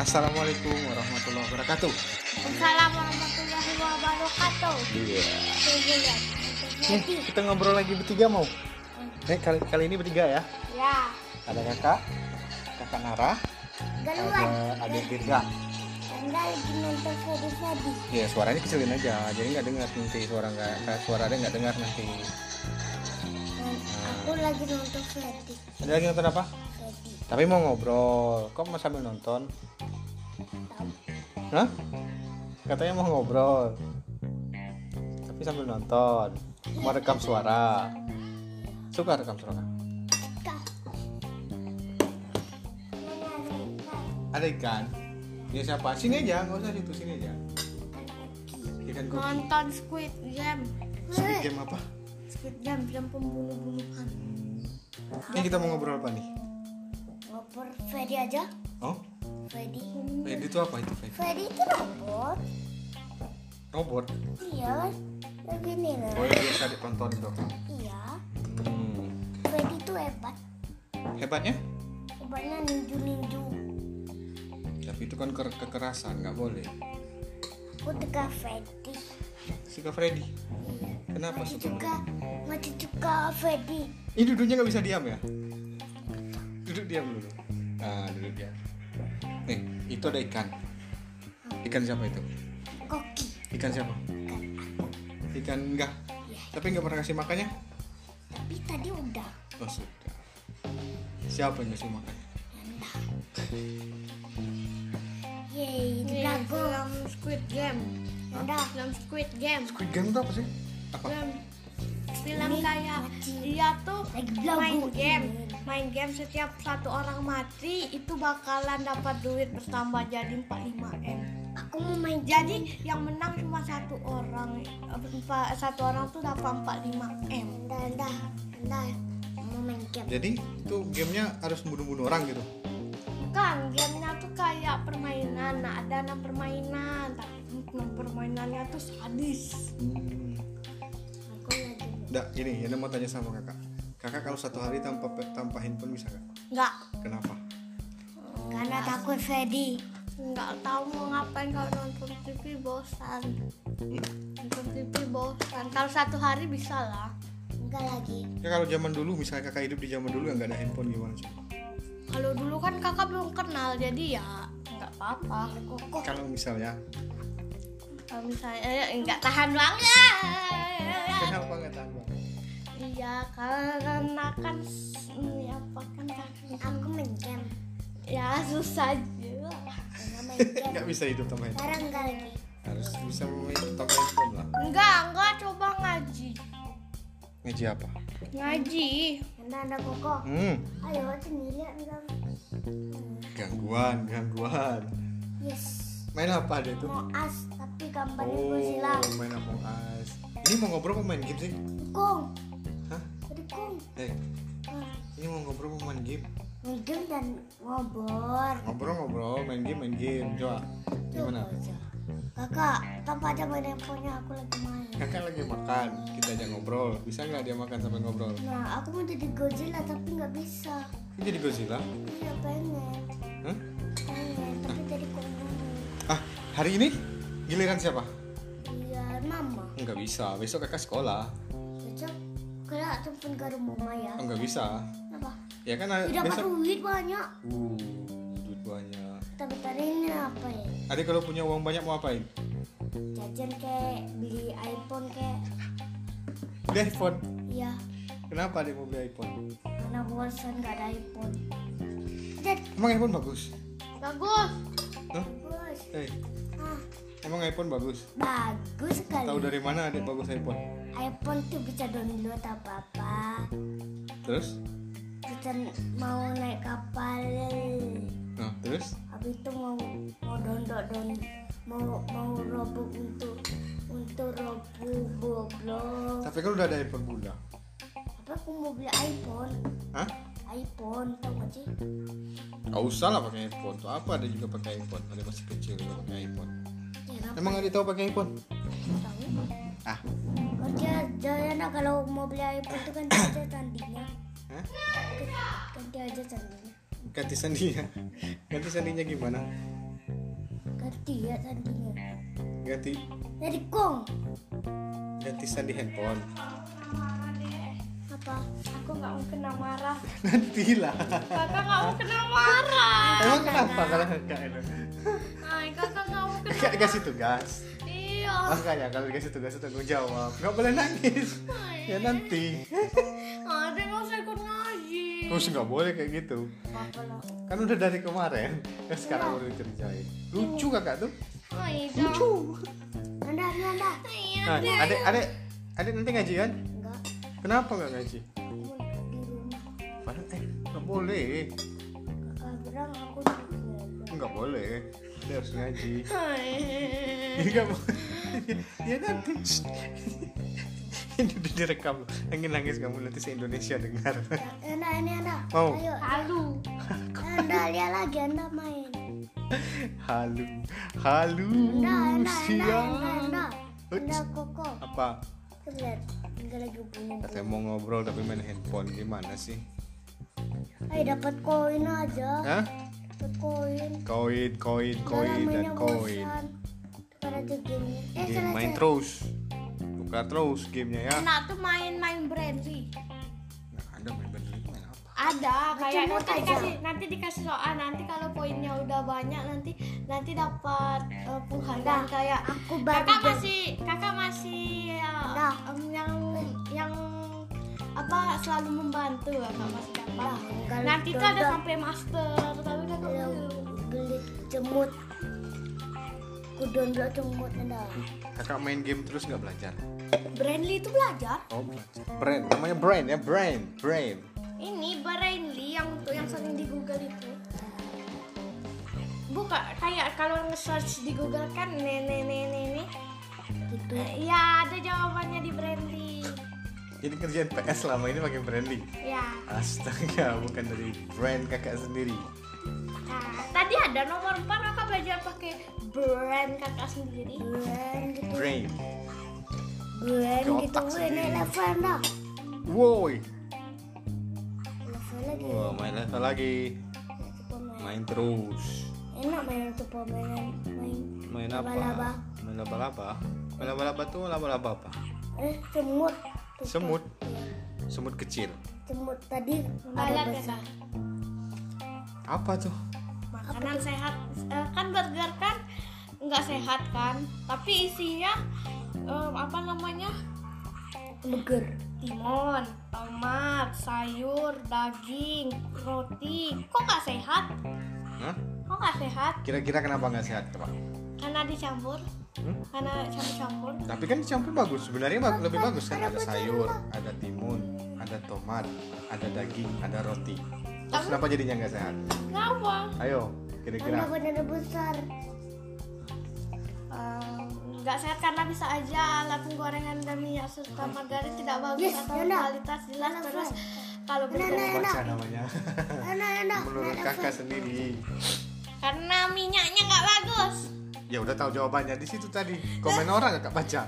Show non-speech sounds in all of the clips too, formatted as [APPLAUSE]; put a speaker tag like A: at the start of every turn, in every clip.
A: Assalamualaikum warahmatullahi wabarakatuh.
B: Assalamualaikum warahmatullahi wabarakatuh.
A: Iya.
B: Iya.
A: kita ngobrol lagi bertiga mau. Eh kali kali ini bertiga ya.
B: Ya.
A: Ada kakak, kakak Nara,
B: Galuan.
A: ada adik Dirga.
B: Anda lagi nonton Freddy Freddy.
A: Ya suaranya kecilin aja, jadi nggak dengar nanti suara nggak eh, suara dia nggak dengar nanti.
B: Dan aku lagi nonton Freddy.
A: Ada lagi nonton apa?
B: Freddy.
A: Tapi mau ngobrol. Kok mau sambil nonton?
B: Tahu.
A: Hah? Katanya mau ngobrol. Tapi sambil nonton. Mau rekam suara. Suka rekam suara?
B: Kak.
A: Ada ikan. Ya siapa? Sini aja, nggak usah situ sini aja. Ikan kok.
B: Nonton Squid Game.
A: Squid game apa?
B: Squid Game film pembunuh-bunuhan.
A: Ini kita mau ngobrol apa nih?
B: Ngoper Freddy aja.
A: Oh,
B: Freddy.
A: Freddy itu apa itu Freddy?
B: Freddy itu robot.
A: Robot.
B: Iya. Lagi nih
A: Oh,
B: lah.
A: yang biasa ditonton itu.
B: Iya.
A: Hmm.
B: Freddy itu hebat.
A: Hebatnya?
B: Hebatnya ninju-ninju.
A: Tapi itu kan ke- kekerasan, nggak boleh.
B: Aku juga Freddy.
A: Suka Freddy.
B: Iya.
A: Kenapa
B: Mati
A: suka?
B: juga, mati juga Freddy.
A: Ini duduknya nggak bisa diam ya? Duduk diam dulu. Nah, duduk diam. Nih, itu ada ikan. Ikan siapa itu?
B: Koki.
A: Ikan siapa?
B: Kan.
A: Ikan enggak.
B: Iya.
A: Tapi nggak pernah kasih makannya?
B: Tapi tadi udah.
A: Oh sudah. Siapa yang kasih makan?
B: Nanda. Yeay, di lagu.
C: Iya, Film Squid Game.
B: Nanda.
C: Film Squid Game.
A: Squid Game itu apa sih? Apa?
C: Film, film
B: Ini
C: kayak
B: mati.
C: dia tuh
B: Lagi
C: main
B: belagu.
C: game. Main game setiap satu orang mati itu bakalan dapat duit bertambah jadi 45M.
B: Aku mau main jadi.
C: Jadi yang menang cuma satu orang. Empa- Satu orang tuh dapat 45M.
B: Nanda, Nanda, Nanda. Mau main game.
A: Jadi itu gamenya harus bunuh-bunuh orang gitu.
C: Kan gamenya tuh kayak permainan. Nah, ada enam permainan. Tapi enam permainannya tuh sadis.
A: Hmm.
B: Aku lagi.
A: Nggak, gini, Yana mau tanya sama kakak. Kakak kalau satu hari tanpa pe- tanpa handphone bisa nggak?
C: Enggak
A: Kenapa?
B: Karena takut Freddy.
C: Iya nggak tahu mau ngapain kalau nonton TV bosan nonton TV bosan kalau satu hari bisa lah
B: Enggak lagi.
A: Ya kalau zaman dulu, misalnya kakak hidup di zaman dulu yang nggak ada handphone gimana sih?
C: kalau dulu kan kakak belum kenal jadi ya nggak apa-apa kok
A: Kalau misalnya,
C: kalau misalnya eh, nggak tahan banget
A: kenapa nggak tahan banget?
C: iya karena kan s- ini apa kan kaki
B: Aku main game.
C: ya susah juga
B: Nanda main game.
A: [LAUGHS] Nggak bisa hidup tanpa handphone.
B: Sekarang enggak lagi.
A: Harus bisa memain tanpa handphone lah.
C: enggak enggak coba ngaji
A: Ngaji apa?
C: ngaji
B: Nanda, Nanda koko.
A: Hmm,
B: Ayo, sini lihat enggak.
A: gangguan, gangguan.
B: Yes.
A: Main apa dia tuh?
B: Mau as tapi gambarnya
A: Oh,
B: Godzilla.
A: main Among Us. Ini mau ngobrol mau main game sih?
B: Kong.
A: Hah?
B: Jadi kong.
A: Eh,
B: Nah,
A: ini mau ngobrol mau main game?
B: Minjem dan ngobor.
A: Ngobrol ngobrol, main game main game. Coba gimana?
B: Kakak, tanpa aja main handphonenya aku lagi main.
A: Kakak lagi makan, kita ajak ngobrol. Bisa nggak dia makan sampai ngobrol?
B: Nah, aku mau jadi Godzilla tapi nggak bisa.
A: Ini jadi Godzilla?
B: Iya pengen,
A: Hah?
B: pengen tapi jadi kong.
A: Ah, hari ini giliran siapa?
B: Iya, mama.
A: Nggak bisa, besok kakak sekolah.
B: Besok kira telepon ke rumah mama ya.
A: Oh, nggak bisa.
B: Apa?
A: Ya kan ah,
B: Udah dapat
A: besok.
B: duit banyak.
A: Uh, duit banyak.
B: Tapi tadi ini apa ya?
A: Adik kalau punya uang banyak mau apain?
B: Jajan kayak beli iPhone kayak.
A: Beli iPhone.
B: Iya,
A: Kenapa adik mau beli iPhone?
B: karena bosan nggak ada iPhone. Jadi
A: Emang iPhone bagus?
C: bagus
A: Hah?
B: bos,
A: Eh,
B: ah, Iya.
A: emang iPhone bagus?
B: bagus sekali.
A: Tahu dari mana adik bagus iPhone?
B: iPhone tuh bisa download apa apa
A: Terus?
B: kita mau naik kapal
A: Nah, terus?
B: habis itu mau mau download don mau mau robok untuk untuk robok goblok
A: Tapi kan udah ada iPhone bunda.
B: apa aku mau beli iPhone
A: Hah?
B: iPhone tau gak sih
A: Gak usah lah pakai iPhone. Tuh apa ada juga pakai iPhone. Ada masih kecil juga pakai iPhone.
B: kenapa
A: Emang ada tahu pakai iPhone?
B: tahu
A: Ah.
B: kerja jayana kalau mau beli iPhone itu kan dia aja tandingnya
A: Hah?
B: kan dia aja tandingnya
A: [LAUGHS] Ganti sandinya. Ganti sandinya gimana?
B: ganti ya sandinya
A: ganti
B: jadi kong
A: ganti sandi handphone [LAUGHS]
C: apa aku nggak mau kena marah
A: nantilah
C: kakak nggak mau kena marah
A: emang kenapa kalau kakak itu
C: Ay, kakak nggak mau kena
A: kakak kasih tugas
C: iya
A: makanya kalau dikasih tugas itu tanggung jawab nggak boleh nangis ya nanti
C: ada nggak usah ikut ngaji
A: terus nggak boleh kayak gitu
C: apa lah
A: kan udah dari kemarin kan sekarang udah dikerjain lucu kakak tuh
C: Ay, lucu
B: anda anda
A: nah, adek adek adek nanti ngaji kan
B: enggak
A: kenapa nggak ngaji
B: aku di rumah
A: padahal eh nggak boleh
B: kakak bilang aku di rumah
A: nggak boleh dia harus ngaji Ini nggak mau ya nanti ini udah direkam loh nangis nangis kamu nanti se Indonesia dengar
B: anda Nah, ini anda
A: Mau.
B: ayo
C: halu
B: anda lihat lagi anda main
A: halu halu
B: anda anda anda anda
A: Uh, siang
B: anda anda
A: Uts.
B: koko
A: apa
B: Tuh, lihat enggak lagi bunyi
A: katanya mau ngobrol tapi main handphone gimana sih
B: ayo dapat koin aja
A: Hah?
B: dapat koin
A: koin koin koin dan koin
B: Pada tuh gamenya. Eh,
A: game
B: salah
A: main
B: cara.
A: terus buka terus gamenya ya
C: enak tuh main-main brandy
A: nah, ada main bener itu main apa
C: ada kayak
B: Cuma
C: nanti
B: aja.
C: dikasih nanti dikasih soal nanti kalau poinnya udah banyak nanti nanti dapat uh, penghargaan kayak
B: Aku baru
C: kakak
B: dapat.
C: masih kakak masih uh,
B: Dah.
C: em, yang yang apa selalu membantu kakak masih dapat
B: Dah, enggak
C: nanti
B: lah,
C: tuh ada
B: dah.
C: sampai master tapi kakak
B: Kalau
C: belum.
B: gelit cemut. Ku download cemut anda.
A: kakak main game terus nggak belajar
C: Brandly itu belajar
A: oh belajar brand namanya brand ya brand brand
C: ini Brandly yang untuk yang sering di Google itu buka kayak kalau nge-search di Google kan nenek nenek nenek
B: Gitu.
C: Ya, ada jawabannya di Brandy.
A: jadi kerjaan PS selama ini pakai branding
C: Ya.
A: astaga [LAUGHS] bukan dari brand kakak sendiri
C: Nah, tadi ada nomor 4 kakak belajar pakai brand kakak sendiri.
B: Gwen gitu.
A: brand
B: Gwen
A: Ke
B: gitu.
A: otak
B: Gwen
A: sendiri.
B: naik level anda.
A: woi
B: Level lagi.
A: wah main level lagi
B: Itu pemain.
A: main terus
B: Enak main itu permainan main.
A: main apa
B: Laba-laba.
A: main laba-laba main laba-laba tuh laba-laba apa
B: Eh cemut. Tuh,
A: Semut.
B: Iya,
A: semut kecil
B: Cemut tadi ada
C: Balat
B: besar.
C: kakak.
A: apa tuh
C: Makanan sehat. Eh, kan burger kan nggak sehat kan, tapi isinya em, apa namanya?
B: Burger.
C: Timun, tomat, sayur, daging, roti. Kok nggak sehat?
A: Hah?
C: Kok nggak sehat?
A: kira-kira kenapa nggak sehat pak
C: Karena dicampur.
A: Hmm?
C: Karena campur-campur.
A: tapi kan dicampur bagus sebenarnya bag- lebih bagus kan ada sayur ada timun ada tomat ada daging ada roti terus kenapa jadinya nggak sehat
C: Kenapa?
A: ayo
B: Anda
A: kira-kira
B: benar besar.
C: Eh, nggak sehat karena bisa aja alat penggorengan dan minyak serta margarin tidak bagus
B: Yes,
C: atau
B: enak.
C: kualitas jelas
B: Enak,
C: terus
B: enak.
C: kalau burger
B: enak.
A: baca
B: [LAUGHS]
A: namanya [LAUGHS] Ah,
B: Enak enak.
A: menurut
B: naik level.
A: kakak sendiri
C: karena minyaknya nggak bagus
A: ya udah tahu jawabannya di situ tadi komen
B: Nah.
A: orang kakak baca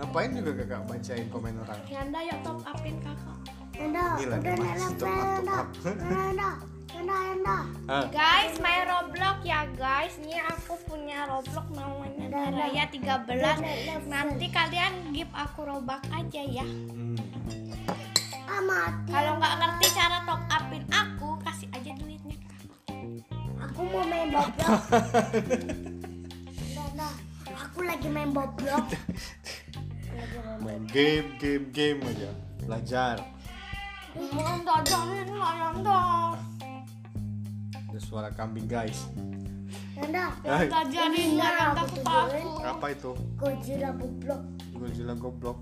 A: ngapain juga kakak bacain komen orang
C: Yanda yuk top upin kakak
B: Anda,
A: Gila,
B: udah
A: dia
B: naik
A: masih
B: level
A: top
B: Anda.
A: up, top up.
B: Anda, Anda, Anda, Anda.
A: Hah?
C: guys main roblox ya guys ini aku punya roblox namanya Daraya 13 nanti kalian give aku robak aja ya
A: Hmm.
B: Ah, mati.
C: kalau nggak ngerti cara top upin aku kasih aja duitnya
B: Aku mau
A: [LAUGHS]
B: main boblok. Anda, Anda. Aku lagi main boblok. Aku lagi main-
A: main game game game aja belajar
C: mau dodorin lah Yanda
A: ada suara kambing guys
B: Anda,
A: Hai.
C: dodorin lah Yanda aku takut
A: apa itu
B: Godzilla boblok.
A: Godzilla goblok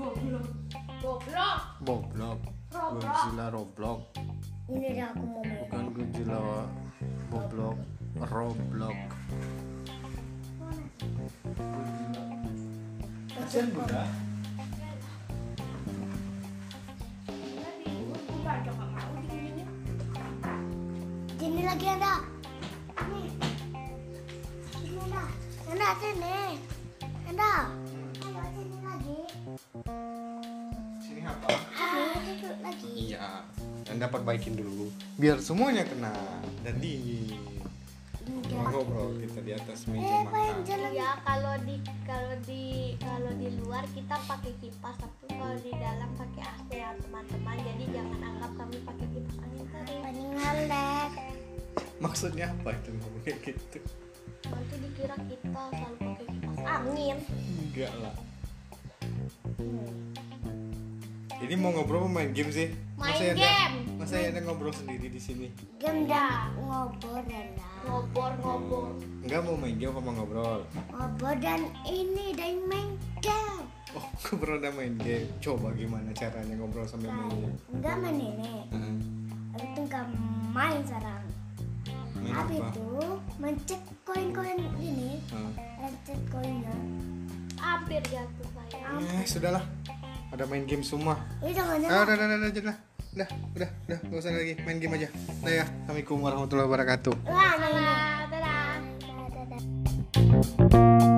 C: Goblok. Goblok.
A: Boblok
C: Roblox.
A: Godzilla Roblock
B: Ini dia aku mau main.
A: Bukan Godzilla Boblok Roblock Kasian Bunda
B: Sini lagi Anda. Ini. Sini Anda. Anda sini. Anda. Ayo sini lagi.
A: Sini apa?
B: Sini duduk lagi.
A: Iya Dan dapat baikin dulu Biar semuanya kena Dan dingin
B: Di enggak
A: ngobrol kita di atas meja
B: eh main
A: makan
B: jalan
C: ya kalau di kalau di kalau di luar kita pakai kipas tapi kalau di dalam pakai AC ya teman-teman jadi jangan anggap kami pakai kipas angin kering
B: paling ngelek
A: maksudnya apa itu ngomong kayak gitu
C: nanti dikira kita selalu pakai kipas angin
A: enggak lah ini mau ngobrol mau main game sih
C: Main
A: Masa Yanda-
C: game.
A: masa Yanda ngobrol sendiri di sini
B: gendang ngobrol dan
C: ngobor ngobor
A: enggak mau main game apa mau ngobrol
B: ngobrol dan ini dan main game
A: oh ngobrol dan main game coba gimana caranya ngobrol sambil main game
B: enggak main ini
A: Heeh.
B: Habis itu enggak main sekarang
A: main
B: habis
A: apa
B: itu mencek koin-koin ini
A: Heeh.
B: mencek koinnya
C: hampir jatuh ya. saya
A: Eh, sudahlah ada main game semua
B: ini jangan
A: ah,
B: jangan
A: udah udah udah udah udah udah udah udah nggak usah lagi main game aja udah ya assalamualaikum warahmatullahi wabarakatuh
B: wah main
C: dadah
B: ini